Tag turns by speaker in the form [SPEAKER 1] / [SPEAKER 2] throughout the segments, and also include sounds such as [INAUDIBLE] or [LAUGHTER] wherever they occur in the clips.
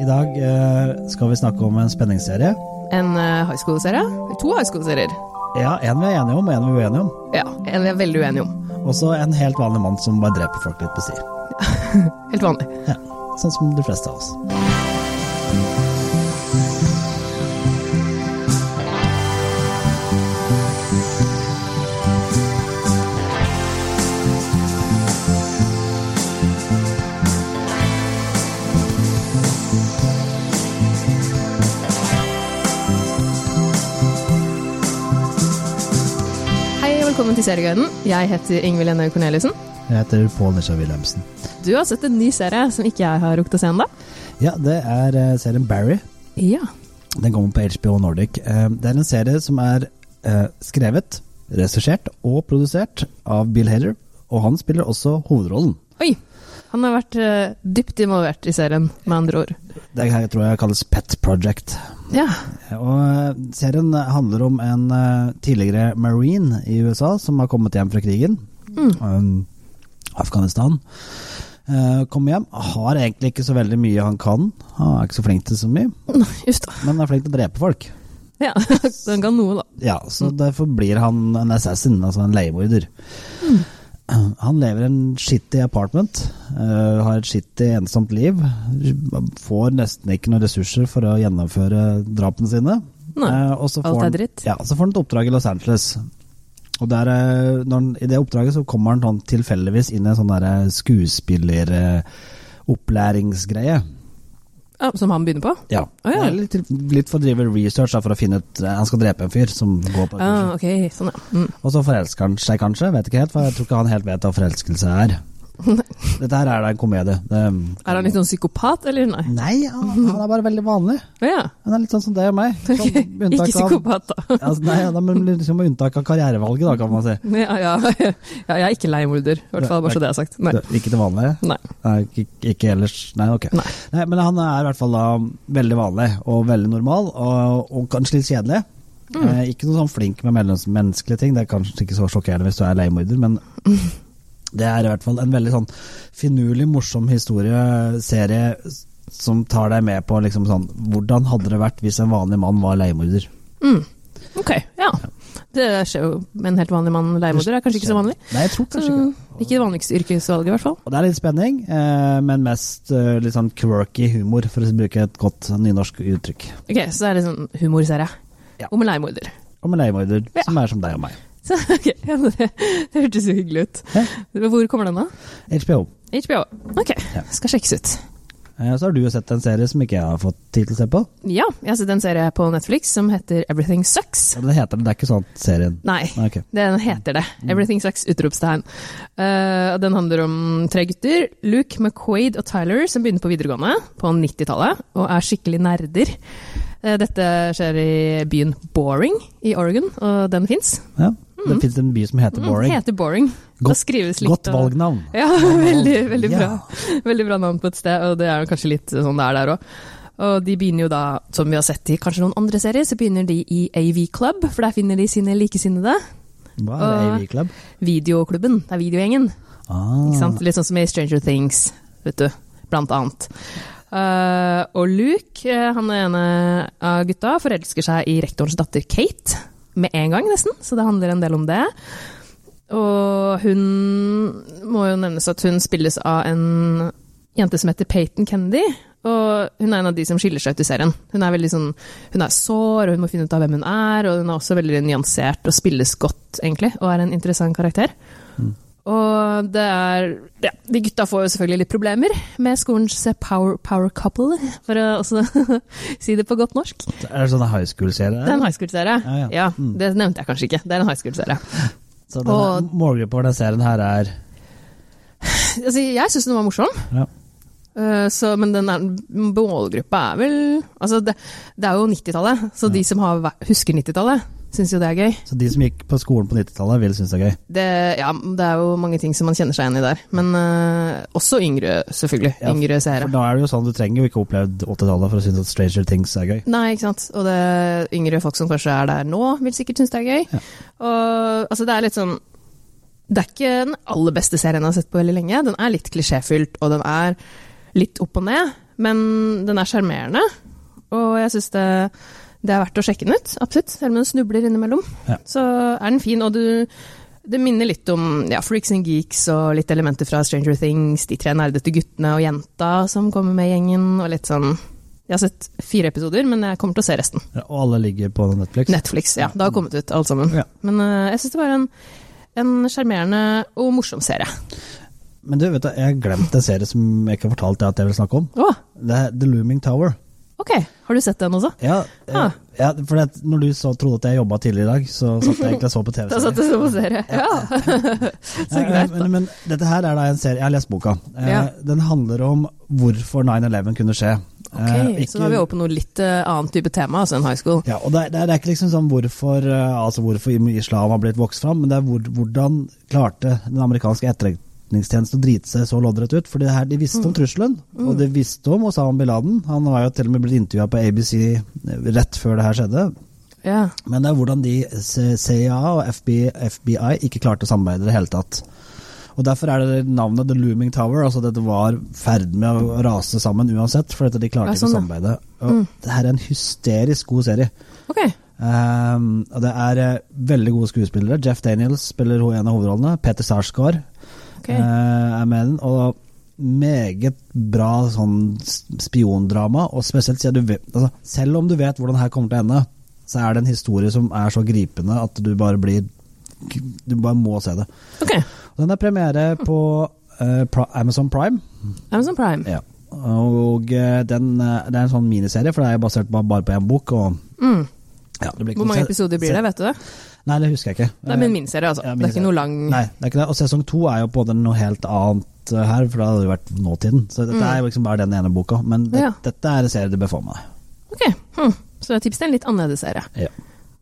[SPEAKER 1] I dag eh, skal vi snakke om en spenningsserie.
[SPEAKER 2] En eh, high school-serie? To high school-serier.
[SPEAKER 1] Ja, en vi er enige om, og en vi er uenige om.
[SPEAKER 2] Ja, en vi er veldig uenige om.
[SPEAKER 1] Og så en helt vanlig mann som bare dreper folk litt på si.
[SPEAKER 2] Helt vanlig.
[SPEAKER 1] Ja, sånn som de fleste av oss.
[SPEAKER 2] Hei og velkommen til Serieguiden. Jeg heter Ingvild Enøy Corneliussen.
[SPEAKER 1] Jeg heter Pål Nisha Wilhelmsen.
[SPEAKER 2] Du har sett en ny serie som ikke jeg har rukket å se ennå.
[SPEAKER 1] Ja, det er eh, serien Barry.
[SPEAKER 2] Ja.
[SPEAKER 1] Den kommer på HBO Nordic. Eh, det er en serie som er eh, skrevet, regissert og produsert av Bill Hader, og han spiller også hovedrollen.
[SPEAKER 2] Oi! Han har vært eh, dypt involvert i serien, med andre ord.
[SPEAKER 1] Det her tror jeg kalles Pet Project.
[SPEAKER 2] Ja.
[SPEAKER 1] Og eh, serien handler om en eh, tidligere marine i USA som har kommet hjem fra krigen. Um, Afghanistan. Eh, Kommer hjem, har egentlig ikke så veldig mye han kan. Han er ikke så flink til så mye,
[SPEAKER 2] Uff da.
[SPEAKER 1] men han er flink til å drepe folk.
[SPEAKER 2] [LAUGHS] Ja, den kan noe, da.
[SPEAKER 1] Ja, Så derfor blir han en assassin, altså en leiemorder. [CLEARS THROAT] Han lever i en shitty apartment, eh, har et shitty ensomt liv. Får nesten ikke noen ressurser for å gjennomføre drapene sine.
[SPEAKER 2] Nei.
[SPEAKER 1] Eh, og så får
[SPEAKER 2] Alt er
[SPEAKER 1] han-
[SPEAKER 2] dritt.
[SPEAKER 1] Ja, så får han et oppdrag i Los Angeles. Og der, eh, når han, I det oppdraget så kommer han sånn tilfeldigvis inn i en sånn skuespilleropplæringsgreie.
[SPEAKER 2] Ja, som han begynner på?
[SPEAKER 1] Ja.
[SPEAKER 2] Å,
[SPEAKER 1] Det
[SPEAKER 2] ja.
[SPEAKER 1] er Litt, til- litt for å drive research da, for å finne ut eh, Han skal drepe en fyr som går på
[SPEAKER 2] Ah, ok, sånn ja. Mm.
[SPEAKER 1] Og så forelsker han seg kanskje, vet ikke helt, for jeg tror ikke han helt vet hva forelskelse
[SPEAKER 2] [LAUGHS]
[SPEAKER 1] er. Dette her er da en komedie. Det, um,
[SPEAKER 2] Er han litt sånn psykopat, eller nei?
[SPEAKER 1] nei, han, han er bare veldig vanlig.
[SPEAKER 2] Å ja.
[SPEAKER 1] Han er litt sånn som deg og meg. Sånn, med
[SPEAKER 2] [LAUGHS] Ikke
[SPEAKER 1] unntak av-
[SPEAKER 2] psykopat, da. [LAUGHS]
[SPEAKER 1] Altså, nei, da, men liksom, med unntak av karrierevalget, da, kan man si.
[SPEAKER 2] Ja, ja. [LAUGHS] ja, jeg er ikke leiemorder, i hvert fall, bare så det er sagt. Nei.
[SPEAKER 1] Det, ikke det vanlige?
[SPEAKER 2] Nei.
[SPEAKER 1] Nei, ikke- ikke ellers. Nei, ok.
[SPEAKER 2] Nei.
[SPEAKER 1] Nei, men han er i hvert fall da veldig vanlig og veldig normal, og, og kanskje litt kjedelig.
[SPEAKER 2] Mm.
[SPEAKER 1] Eh, ikke noe sånn flink med mellommenneskelige ting, det er kanskje ikke så sjokkerende hvis du er leiemorder,
[SPEAKER 2] [LAUGHS]
[SPEAKER 1] men det er i hvert fall en veldig sånn finurlig, morsom historieserie som tar deg med på liksom sånn Hvordan hadde det vært hvis en vanlig mann var leiemorder?
[SPEAKER 2] Mm. Ok, ja. Det skjer jo med en helt vanlig mann. Leiemorder er kanskje ikke så vanlig.
[SPEAKER 1] Nei, jeg tror
[SPEAKER 2] Så,
[SPEAKER 1] kanskje ikke det.
[SPEAKER 2] ikke det vanligste yrkesvalget, i hvert fall.
[SPEAKER 1] Og det er litt spenning, eh, men mest eh, litt sånn quirky humor, for å bruke et godt nynorsk uttrykk.
[SPEAKER 2] Ok, Så det er litt sånn humorserie
[SPEAKER 1] Ja.
[SPEAKER 2] om en leiemorder. [LAUGHS]
[SPEAKER 1] Om en leiemorder
[SPEAKER 2] Ja.
[SPEAKER 1] som er som deg og meg.
[SPEAKER 2] Så, ok, ja, men det, det hørtes jo hyggelig ut.
[SPEAKER 1] Ja.
[SPEAKER 2] Hvor kommer den, da?
[SPEAKER 1] HBO.
[SPEAKER 2] HBO. Ok,
[SPEAKER 1] Ja.
[SPEAKER 2] skal sjekkes ut.
[SPEAKER 1] Eh, Så har du jo sett en serie som ikke jeg har fått tid til å se på.
[SPEAKER 2] Ja, jeg har sett en serie på Netflix som heter Everything Sucks.
[SPEAKER 1] Ja, men Det heter det, det er ikke sånn serien.
[SPEAKER 2] Nei,
[SPEAKER 1] Nei, ok.
[SPEAKER 2] den heter det.
[SPEAKER 1] Mm.
[SPEAKER 2] Everything Sucks! utropstegn. Eh, og den handler om tre gutter, Luke, McQuaid og Tyler, som begynner på videregående på 90-tallet og er skikkelig nerder. Eh, dette skjer i byen Boring i Oregon, og den fins.
[SPEAKER 1] Ja. Det fins en by som heter Boring.
[SPEAKER 2] Mm. Heter Boring.
[SPEAKER 1] Godt-
[SPEAKER 2] Da skrives litt
[SPEAKER 1] Godt
[SPEAKER 2] og-
[SPEAKER 1] valgnavn.
[SPEAKER 2] Ja, [LAUGHS] veldig, veldig bra.
[SPEAKER 1] Ja.
[SPEAKER 2] Veldig bra navn på et sted, og det er jo kanskje litt sånn det er der òg. Og de begynner jo da, som vi har sett i kanskje noen andre serier, så begynner de i AV Club, for der finner de sine likesinnede.
[SPEAKER 1] Hva er det,
[SPEAKER 2] Og-
[SPEAKER 1] AV Club?
[SPEAKER 2] Videoklubben, det er videogjengen.
[SPEAKER 1] Ah,
[SPEAKER 2] Ikke sant? Litt sånn som i Stranger Things, vet du. Blant annet. Eh, og Luke, eh, han ene av gutta, forelsker seg i rektorens datter Kate med en gang, nesten, så det handler en del om det. Og hun må jo nevnes at hun spilles av en jente som heter Peyton Kennedy. Og hun er en av de som skiller seg ut i serien. Hun er veldig sånn, hun er sår, og hun må finne ut av hvem hun er, og hun er også veldig nyansert og spilles godt, egentlig, og er en interessant karakter. Og det er ja, De gutta får jo selvfølgelig litt problemer med skolens power, power couple, for å også [LAUGHS] si det på godt norsk.
[SPEAKER 1] Er det sånn high school-serie?
[SPEAKER 2] Det er en high school-serie.
[SPEAKER 1] Ja, ja. Mm.
[SPEAKER 2] Det nevnte jeg kanskje ikke. Det er en high school-serie.
[SPEAKER 1] Så den er-
[SPEAKER 2] og-
[SPEAKER 1] målgruppa for den serien her er
[SPEAKER 2] Altså, jeg syns den var morsom.
[SPEAKER 1] ja.
[SPEAKER 2] Eh, Så, men den er, målgruppa er vel altså det, det er jo 90-tallet, så de som har, væ- husker 90-tallet, syns jo det er gøy.
[SPEAKER 1] Så de som gikk på skolen på 90-tallet, vil synes det er gøy.
[SPEAKER 2] Det, ja, det er jo mange ting som man kjenner seg igjen i der. Men eh, også yngre, selvfølgelig.
[SPEAKER 1] Ja,
[SPEAKER 2] yngre
[SPEAKER 1] For
[SPEAKER 2] seere.
[SPEAKER 1] da er det jo sånn, du trenger jo ikke opplevd 80-tallet for å synes at Stranger Things er gøy.
[SPEAKER 2] Nei, ikke sant. Og det yngre folk som kanskje er der nå, vil sikkert synes det er gøy.
[SPEAKER 1] Ja.
[SPEAKER 2] Og altså, det er litt sånn Det er ikke den aller beste serien jeg har sett på veldig lenge. Den er litt klisjéfylt, og den er litt opp og ned. Men den er sjarmerende, og jeg syns det, det er verdt å sjekke den ut. Absolutt. Selv om den snubler innimellom.
[SPEAKER 1] Ja.
[SPEAKER 2] Så er den fin, og du det minner litt om ja, Freaks and Geeks og litt elementer fra Stranger Things. De tre nerdete guttene og jenta som kommer med i gjengen. Og litt sånn Jeg har sett fire episoder, men jeg kommer til å se resten.
[SPEAKER 1] Ja, Og alle ligger på Netflix.
[SPEAKER 2] Netflix, ja. Det har kommet ut, alt sammen.
[SPEAKER 1] Ja.
[SPEAKER 2] Men eh, jeg syns det var en en sjarmerende og morsom serie.
[SPEAKER 1] Men du, vet du, jeg har glemt en serie som jeg ikke har fortalt deg at jeg vil snakke om.
[SPEAKER 2] Å,
[SPEAKER 1] Det er The Looming Tower.
[SPEAKER 2] ok. Har du sett den også?
[SPEAKER 1] Ja, eh,
[SPEAKER 2] Ah.
[SPEAKER 1] ja for det, når du så, trodde at jeg jobba tidligere i dag, så satt jeg egentlig og så på
[SPEAKER 2] [LAUGHS] Da
[SPEAKER 1] TV-serien.
[SPEAKER 2] satt det som på serie. Ja. [LAUGHS] Så greit,
[SPEAKER 1] men,
[SPEAKER 2] da.
[SPEAKER 1] men dette her er da en serie Jeg har lest boka. Eh,
[SPEAKER 2] Ja.
[SPEAKER 1] Den handler om hvorfor 9-11 kunne skje. Eh,
[SPEAKER 2] Ok,
[SPEAKER 1] ikke-
[SPEAKER 2] Så da er vi over på noe litt eh, annet type tema, altså en high school.
[SPEAKER 1] Ja, og det, er- det, er- det er ikke liksom sånn hvorfor, eh, altså hvorfor islam har blitt vokst fram, men det er hvor, hvordan klarte den amerikanske etterretningstjenesten å drite seg så loddrett ut? For det her, de visste
[SPEAKER 2] Mm.
[SPEAKER 1] om trusselen, og de visste om Osama bin Laden. Han var jo til og med blitt intervjua på ABC eh, rett før det her skjedde.
[SPEAKER 2] Ja.
[SPEAKER 1] Men det er hvordan de C- CIA og FBI, FBI ikke klarte å samarbeide i det hele tatt. Og Derfor er det navnet The Looming Tower. altså Dette var ferd med å rase sammen uansett. For dette de klarte
[SPEAKER 2] Ja,
[SPEAKER 1] ikke å
[SPEAKER 2] sånn,
[SPEAKER 1] samarbeide. Og Det her er en hysterisk god serie.
[SPEAKER 2] Ok.
[SPEAKER 1] Ehm, og det er eh, veldig gode skuespillere. Jeff Daniels spiller ho- en av hovedrollene. Peter Sarsgaard
[SPEAKER 2] ok.
[SPEAKER 1] eh, er med i den. Og meget bra sånn s- spiondrama. Og spesielt siden du vet, altså, selv om du vet hvordan det her kommer til å ende, så er det en historie som er så gripende at du bare blir Du bare må se det.
[SPEAKER 2] Ok.
[SPEAKER 1] Og den er premiere på eh, Pri- Amazon Prime.
[SPEAKER 2] Amazon Prime.
[SPEAKER 1] Ja. Og eh, den, eh, det er en sånn miniserie, for det er basert ba- bare på én bok. Og,
[SPEAKER 2] Mm.
[SPEAKER 1] ja, det blir ikke
[SPEAKER 2] Hvor
[SPEAKER 1] noe
[SPEAKER 2] mange
[SPEAKER 1] se-
[SPEAKER 2] episoder blir
[SPEAKER 1] se-
[SPEAKER 2] det, vet du det?
[SPEAKER 1] Nei, det husker jeg ikke.
[SPEAKER 2] Det er min miniserie, altså.
[SPEAKER 1] Ja,
[SPEAKER 2] Det er ikke
[SPEAKER 1] miniserie.
[SPEAKER 2] noe lang
[SPEAKER 1] Nei, det er ikke det. Og sesong to er jo på en måte noe helt annet eh, her, for da hadde det jo vært nåtiden. Så dette er jo liksom bare den ene boka. Men det,
[SPEAKER 2] Mm. Ja.
[SPEAKER 1] dette er en serie du bør få med deg.
[SPEAKER 2] Ok. Hm. Så jeg tipset en litt annerledes serie.
[SPEAKER 1] Ja.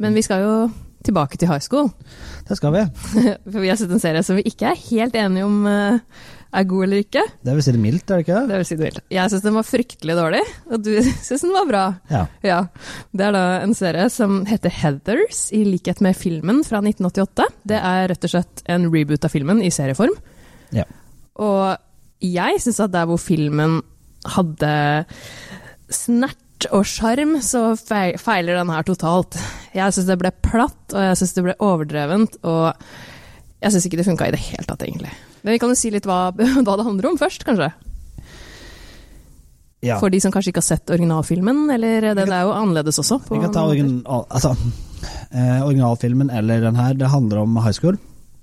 [SPEAKER 2] Men vi skal jo tilbake til high school. [LAUGHS]
[SPEAKER 1] Det skal vi.
[SPEAKER 2] For vi har sett en serie som vi ikke er helt enige om eh, er god eller ikke.
[SPEAKER 1] Det vil si det mildt, er det ikke det?
[SPEAKER 2] Det vil si det mildt. Jeg syns den var fryktelig dårlig, og du [LAUGHS] syns den var bra.
[SPEAKER 1] Ja.
[SPEAKER 2] Ja. Det er da en serie som heter Heathers, i likhet med filmen fra 1988. Det er rett og slett en reboot av filmen i serieform.
[SPEAKER 1] Ja.
[SPEAKER 2] Og jeg syns at der hvor filmen hadde snert og sjarm, så fei- feiler den her totalt. Jeg syns det ble platt, og jeg syns det ble overdrevent, og jeg syns ikke det funka i det hele tatt, egentlig. Men vi kan jo si litt hva, [LAUGHS] hva det handler om først, kanskje?
[SPEAKER 1] ja.
[SPEAKER 2] For de som kanskje ikke har sett originalfilmen, eller den er jo annerledes også. på
[SPEAKER 1] Vi kan ta
[SPEAKER 2] noen måter.
[SPEAKER 1] origin, al- altså, eh, originalfilmen eller den her. Det handler om high school.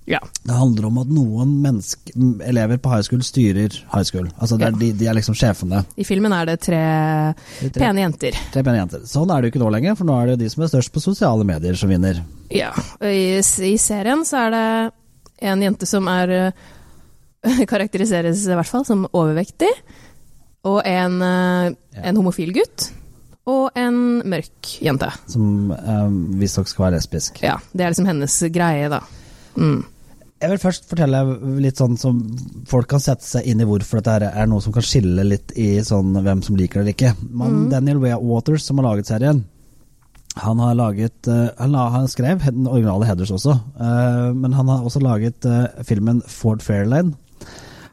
[SPEAKER 2] Ja.
[SPEAKER 1] Det handler om at noen mennesk, m- elever på high school styrer high school. Altså, det
[SPEAKER 2] Ja.
[SPEAKER 1] er, de, de er liksom sjefene.
[SPEAKER 2] I filmen er det tre
[SPEAKER 1] De tre,
[SPEAKER 2] pene jenter.
[SPEAKER 1] tre pene jenter. Sånn er det jo ikke nå lenger, for nå er det jo de som er størst på sosiale medier, som vinner.
[SPEAKER 2] Ja. og I, I serien så er det en jente som er eh, [LAUGHS] Karakteriseres i hvert fall som overvektig. Og en, eh,
[SPEAKER 1] Ja.
[SPEAKER 2] en homofil gutt. Og en mørk jente.
[SPEAKER 1] Som eh, visstnok skal være lesbisk.
[SPEAKER 2] Ja, Det er liksom hennes greie, da. Mm.
[SPEAKER 1] Jeg vil først fortelle litt sånn som folk kan sette seg inn i hvorfor dette her er noe som kan skille litt i sånn hvem som liker det eller ikke. Men Daniel Wa- Waters, som har laget serien, han har laget eh, han, la- han skrev den originale Headers også, eh, men han har også laget eh, filmen Ford Fairlane.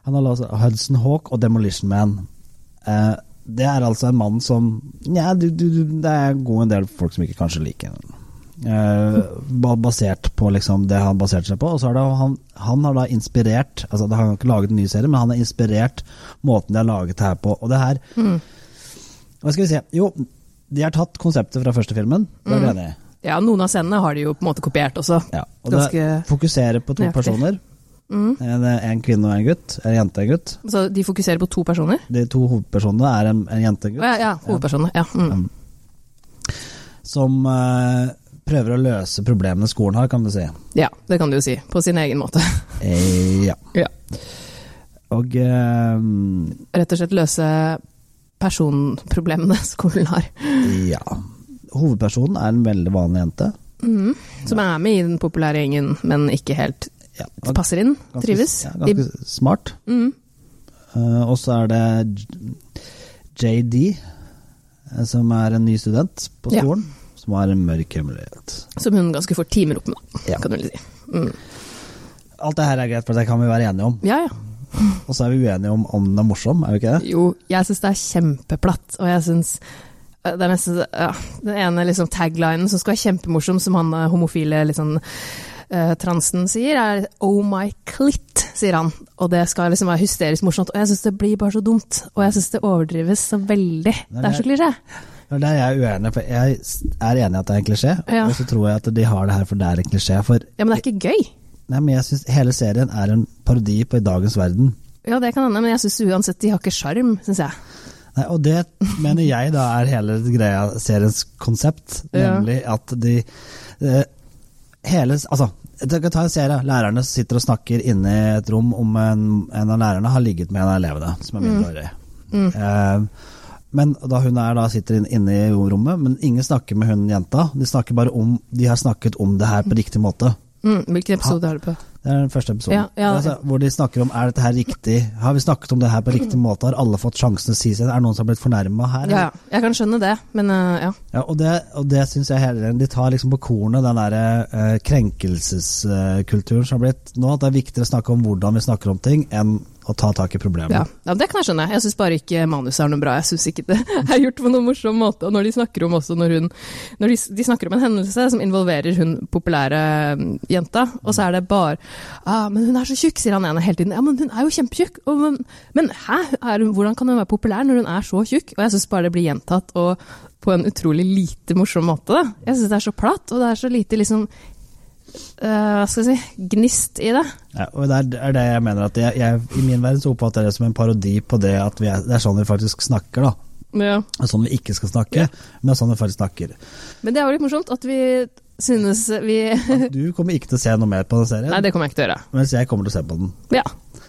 [SPEAKER 1] Han har laget Hudson Hawk og Demolition Man. Eh, det er altså en mann som Nja, du, du, du, det er en god en del folk som ikke kanskje liker den. Eh, ba- basert på liksom det han baserte seg på. Og så er det, han, han har da inspirert altså Han har ikke laget en ny serie, men han har inspirert måten de har laget det her på. Og det her Hva skal vi si? Jo, de har tatt konseptet fra første filmen. Det er du enig i?
[SPEAKER 2] Ja, noen av scenene har de jo på en måte kopiert også.
[SPEAKER 1] Ja, og det
[SPEAKER 2] Ganske
[SPEAKER 1] fokuserer på to
[SPEAKER 2] nøyaktig.
[SPEAKER 1] personer.
[SPEAKER 2] Mm.
[SPEAKER 1] En, en kvinne og en gutt. En jente og en gutt.
[SPEAKER 2] Så de fokuserer på to personer?
[SPEAKER 1] De to hovedpersonene er en, en jente og en
[SPEAKER 2] Å
[SPEAKER 1] gutt
[SPEAKER 2] Ja, ja, hovedpersoner. Ja. Mm.
[SPEAKER 1] som eh, prøver å løse problemene skolen har, kan du si.
[SPEAKER 2] ja, det kan du jo si. På sin egen måte. [LAUGHS]
[SPEAKER 1] Eh, ja.
[SPEAKER 2] Ja.
[SPEAKER 1] Og eh,
[SPEAKER 2] Rett og slett løse personproblemene skolen har.
[SPEAKER 1] Ja. Hovedpersonen er en veldig vanlig jente.
[SPEAKER 2] Mhm. Som er med i den populære gjengen, men ikke helt
[SPEAKER 1] Ja,
[SPEAKER 2] passer inn.
[SPEAKER 1] ganske-
[SPEAKER 2] trives.
[SPEAKER 1] Ja, ganske
[SPEAKER 2] De,
[SPEAKER 1] smart.
[SPEAKER 2] Mhm.
[SPEAKER 1] Eh, og så er det J- JD, eh, som er en ny student på
[SPEAKER 2] Ja.
[SPEAKER 1] skolen. Som har en mørk hemmelighet.
[SPEAKER 2] som hun ganske fort timer opp med, da,
[SPEAKER 1] Ja.
[SPEAKER 2] kan du vel si. Mm.
[SPEAKER 1] Alt det her er greit, for det kan vi være enige om.
[SPEAKER 2] Ja, ja.
[SPEAKER 1] Og så er vi uenige om om den er morsom, er vi ikke det?
[SPEAKER 2] Jo, jeg syns det er kjempeplatt, og jeg syns det er nesten ja, Den ene liksom taglinen som skal være kjempemorsom, som han eh, homofile liksom, eh, transen sier, er 'oh my clit', sier han. Og det skal liksom være hysterisk morsomt. Og jeg syns det blir bare så dumt. Og jeg syns det overdrives så veldig. Det er så klisjé.
[SPEAKER 1] Det er der jeg er uenig, for jeg er enig i at det er en klisjé,
[SPEAKER 2] Ja.
[SPEAKER 1] og så tror jeg at de har det her for det er en klisjé. For
[SPEAKER 2] Ja, men det er ikke gøy.
[SPEAKER 1] nei, men jeg synes hele serien er en parodi på i dagens verden.
[SPEAKER 2] Ja, det kan hende, men jeg syns uansett de har ikke sjarm, syns jeg.
[SPEAKER 1] Nei, og det mener jeg da er hele greia, seriens konsept,
[SPEAKER 2] Ja.
[SPEAKER 1] nemlig at de eh, hele, altså, du kan ta en serie, lærerne sitter og snakker inne i et rom om en, en av lærerne har ligget med en av elevene som er
[SPEAKER 2] Mm.
[SPEAKER 1] mindreårig. Eh, men da hun er da sitter inn- inne i rommet, men ingen snakker med hun jenta, de snakker bare om, de har snakket om det her på riktig måte.
[SPEAKER 2] Mm, hvilken episode har du på?
[SPEAKER 1] Det er den første episoden.
[SPEAKER 2] Ja, ja.
[SPEAKER 1] Altså, hvor de snakker om er dette her riktig, har vi snakket om det her på riktig måte, har alle fått sjansen til å si seg, er det noen som har blitt fornærmet her?
[SPEAKER 2] Ja, ja. Jeg kan skjønne det, men eh, ja.
[SPEAKER 1] Ja, og det, og det syns jeg hele tiden. De tar liksom på kornet den der eh, krenkelseskulturen som har blitt nå. At det er viktigere å snakke om hvordan vi snakker om ting, enn å ta tak i problemet.
[SPEAKER 2] Ja, ja det kan jeg skjønne. Jeg syns bare ikke manuset er noe bra. Jeg syns ikke det [LAUGHS] er gjort på noen morsom måte. Og når de snakker om også når hun Når de, de snakker om en hendelse som involverer hun populære mm, jenta, og så er det bare ah, 'Men hun er så tjukk', sier han ene hele tiden. Ja, men hun er jo kjempetjukk. Og, men, men hæ? Er hun, hvordan kan hun være populær når hun er så tjukk? Og jeg syns bare det blir gjentatt og på en utrolig lite morsom måte. Da. Jeg syns det er så platt, og det er så lite liksom eh, Hva skal jeg si Gnist i det.
[SPEAKER 1] Ja, og det er, det er det jeg mener at jeg, jeg, I min verden så oppfatter jeg det som en parodi på det at vi er, det er sånn vi faktisk snakker, da.
[SPEAKER 2] Ja.
[SPEAKER 1] Det er sånn vi ikke skal snakke, men det er sånn vi faktisk
[SPEAKER 2] [LAUGHS]
[SPEAKER 1] snakker.
[SPEAKER 2] Men det er jo litt morsomt at vi synes vi
[SPEAKER 1] Du kommer ikke til å se noe mer på den serien,
[SPEAKER 2] Nei, det kommer jeg ikke til å gjøre.
[SPEAKER 1] mens jeg kommer til å se på den.
[SPEAKER 2] Ja.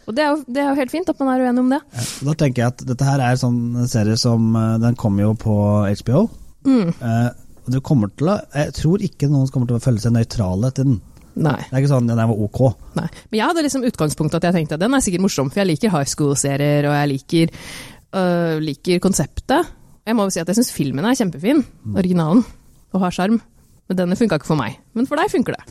[SPEAKER 2] Og det er, jo, det er jo helt fint at man er uenig om det.
[SPEAKER 1] Ja, og Da tenker jeg at dette her er en sånn serie som eh, Den kommer jo på HBO. Eh, og du kommer til å Jeg tror ikke noen kommer til å føle seg nøytrale til den.
[SPEAKER 2] Nei.
[SPEAKER 1] Det er ikke sånn den her var ok.
[SPEAKER 2] nei. Men jeg hadde liksom utgangspunktet at jeg tenkte at den er sikkert morsom, for jeg liker high school-serier, og jeg liker, øh, liker konseptet. Jeg må jo si at jeg syns filmen er kjempefin, originalen, og har sjarm. Men denne funka ikke for meg. Men for deg funker det.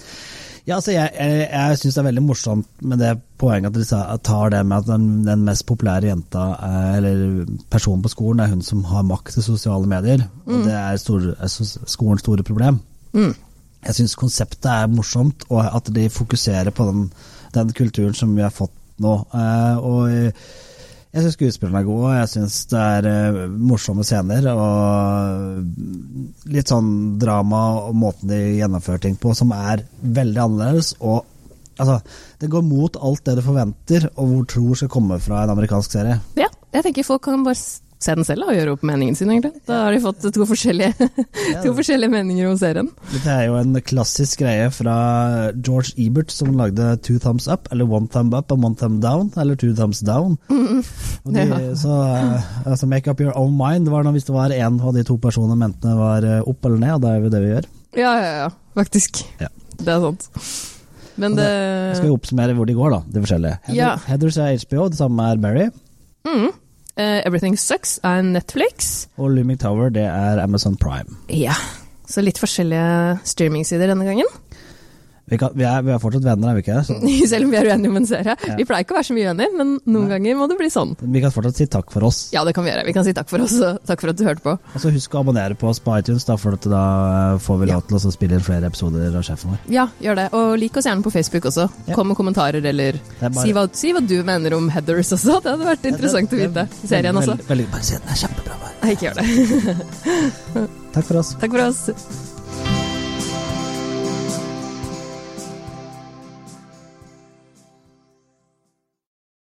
[SPEAKER 1] Ja, altså Jeg, jeg, jeg syns det er veldig morsomt med det poenget at de sa- tar det med at den, den mest populære jenta, eh, eller personen på skolen, er hun som har makt til sosiale medier. Og det er, stor, er sos- skolens store problem. Jeg syns konseptet er morsomt, og at de fokuserer på den, den kulturen som vi har fått nå. Eh, og jeg syns skuespillerne er gode, og jeg syns det er eh, morsomme scener. Og litt sånn drama og måten de gjennomfører ting på, som er veldig annerledes. Og altså, det går mot alt det du forventer, og hvor tror skal komme fra en amerikansk serie.
[SPEAKER 2] Ja, jeg tenker folk kan bare s- se den selv da, og gjøre opp meningen sin, egentlig. Da har de fått to [LAUGHS] forskjellige, to forskjellige meninger om serien.
[SPEAKER 1] Dette er jo en klassisk greie fra George Ebert, som lagde Two Thumbs Up, eller One Thumb Up og One Thumb Down, eller Two Thumbs
[SPEAKER 2] [LAUGHS]
[SPEAKER 1] Down. Og de,
[SPEAKER 2] Ja.
[SPEAKER 1] så, eh, altså Make Up Your Own Mind var da hvis det var én av de to personene mentene var eh, opp eller ned, og det er jo det vi gjør.
[SPEAKER 2] Ja, ja, ja. Faktisk.
[SPEAKER 1] Ja.
[SPEAKER 2] Det er sant. Men
[SPEAKER 1] Og
[SPEAKER 2] det
[SPEAKER 1] Jeg skal jo oppsummere hvor de går, da, de forskjellige. Heather,
[SPEAKER 2] Ja.
[SPEAKER 1] Heathers er HBO, det samme er Mary.
[SPEAKER 2] mm. Eh, Everything Sucks er Netflix.
[SPEAKER 1] Og Looming Tower, det er Amazon Prime.
[SPEAKER 2] Ja. Så litt forskjellige streamingsider denne gangen. [LAUGHS]
[SPEAKER 1] Vi, kan, vi, er, vi er fortsatt venner, er vi ikke? Så
[SPEAKER 2] Selv om vi er uenige om en serie.
[SPEAKER 1] Ja.
[SPEAKER 2] Vi pleier ikke å være så mye uenige, men noen ganger må det bli sånn.
[SPEAKER 1] vi kan fortsatt si takk for oss.
[SPEAKER 2] Ja, det kan vi gjøre. Vi kan si takk for oss, og takk for at du hørte på.
[SPEAKER 1] Og så husk å abonnere på oss på iTunes, da, for at da eh, får vi lov til å spille inn flere episoder av sjefen vår.
[SPEAKER 2] Ja, gjør det. Og lik oss gjerne på Facebook også.
[SPEAKER 1] Ja.
[SPEAKER 2] Kom med kommentarer, eller
[SPEAKER 1] er bare-
[SPEAKER 2] si, hva, si hva du mener om Heathers også. Det hadde vært interessant å vite. Serien også.
[SPEAKER 1] Veldig, veldig, bare se den er kjempebra. Bare.
[SPEAKER 2] Nei, ikke gjør det.
[SPEAKER 1] Takk for oss.
[SPEAKER 2] [LAUGHS] Takk for oss.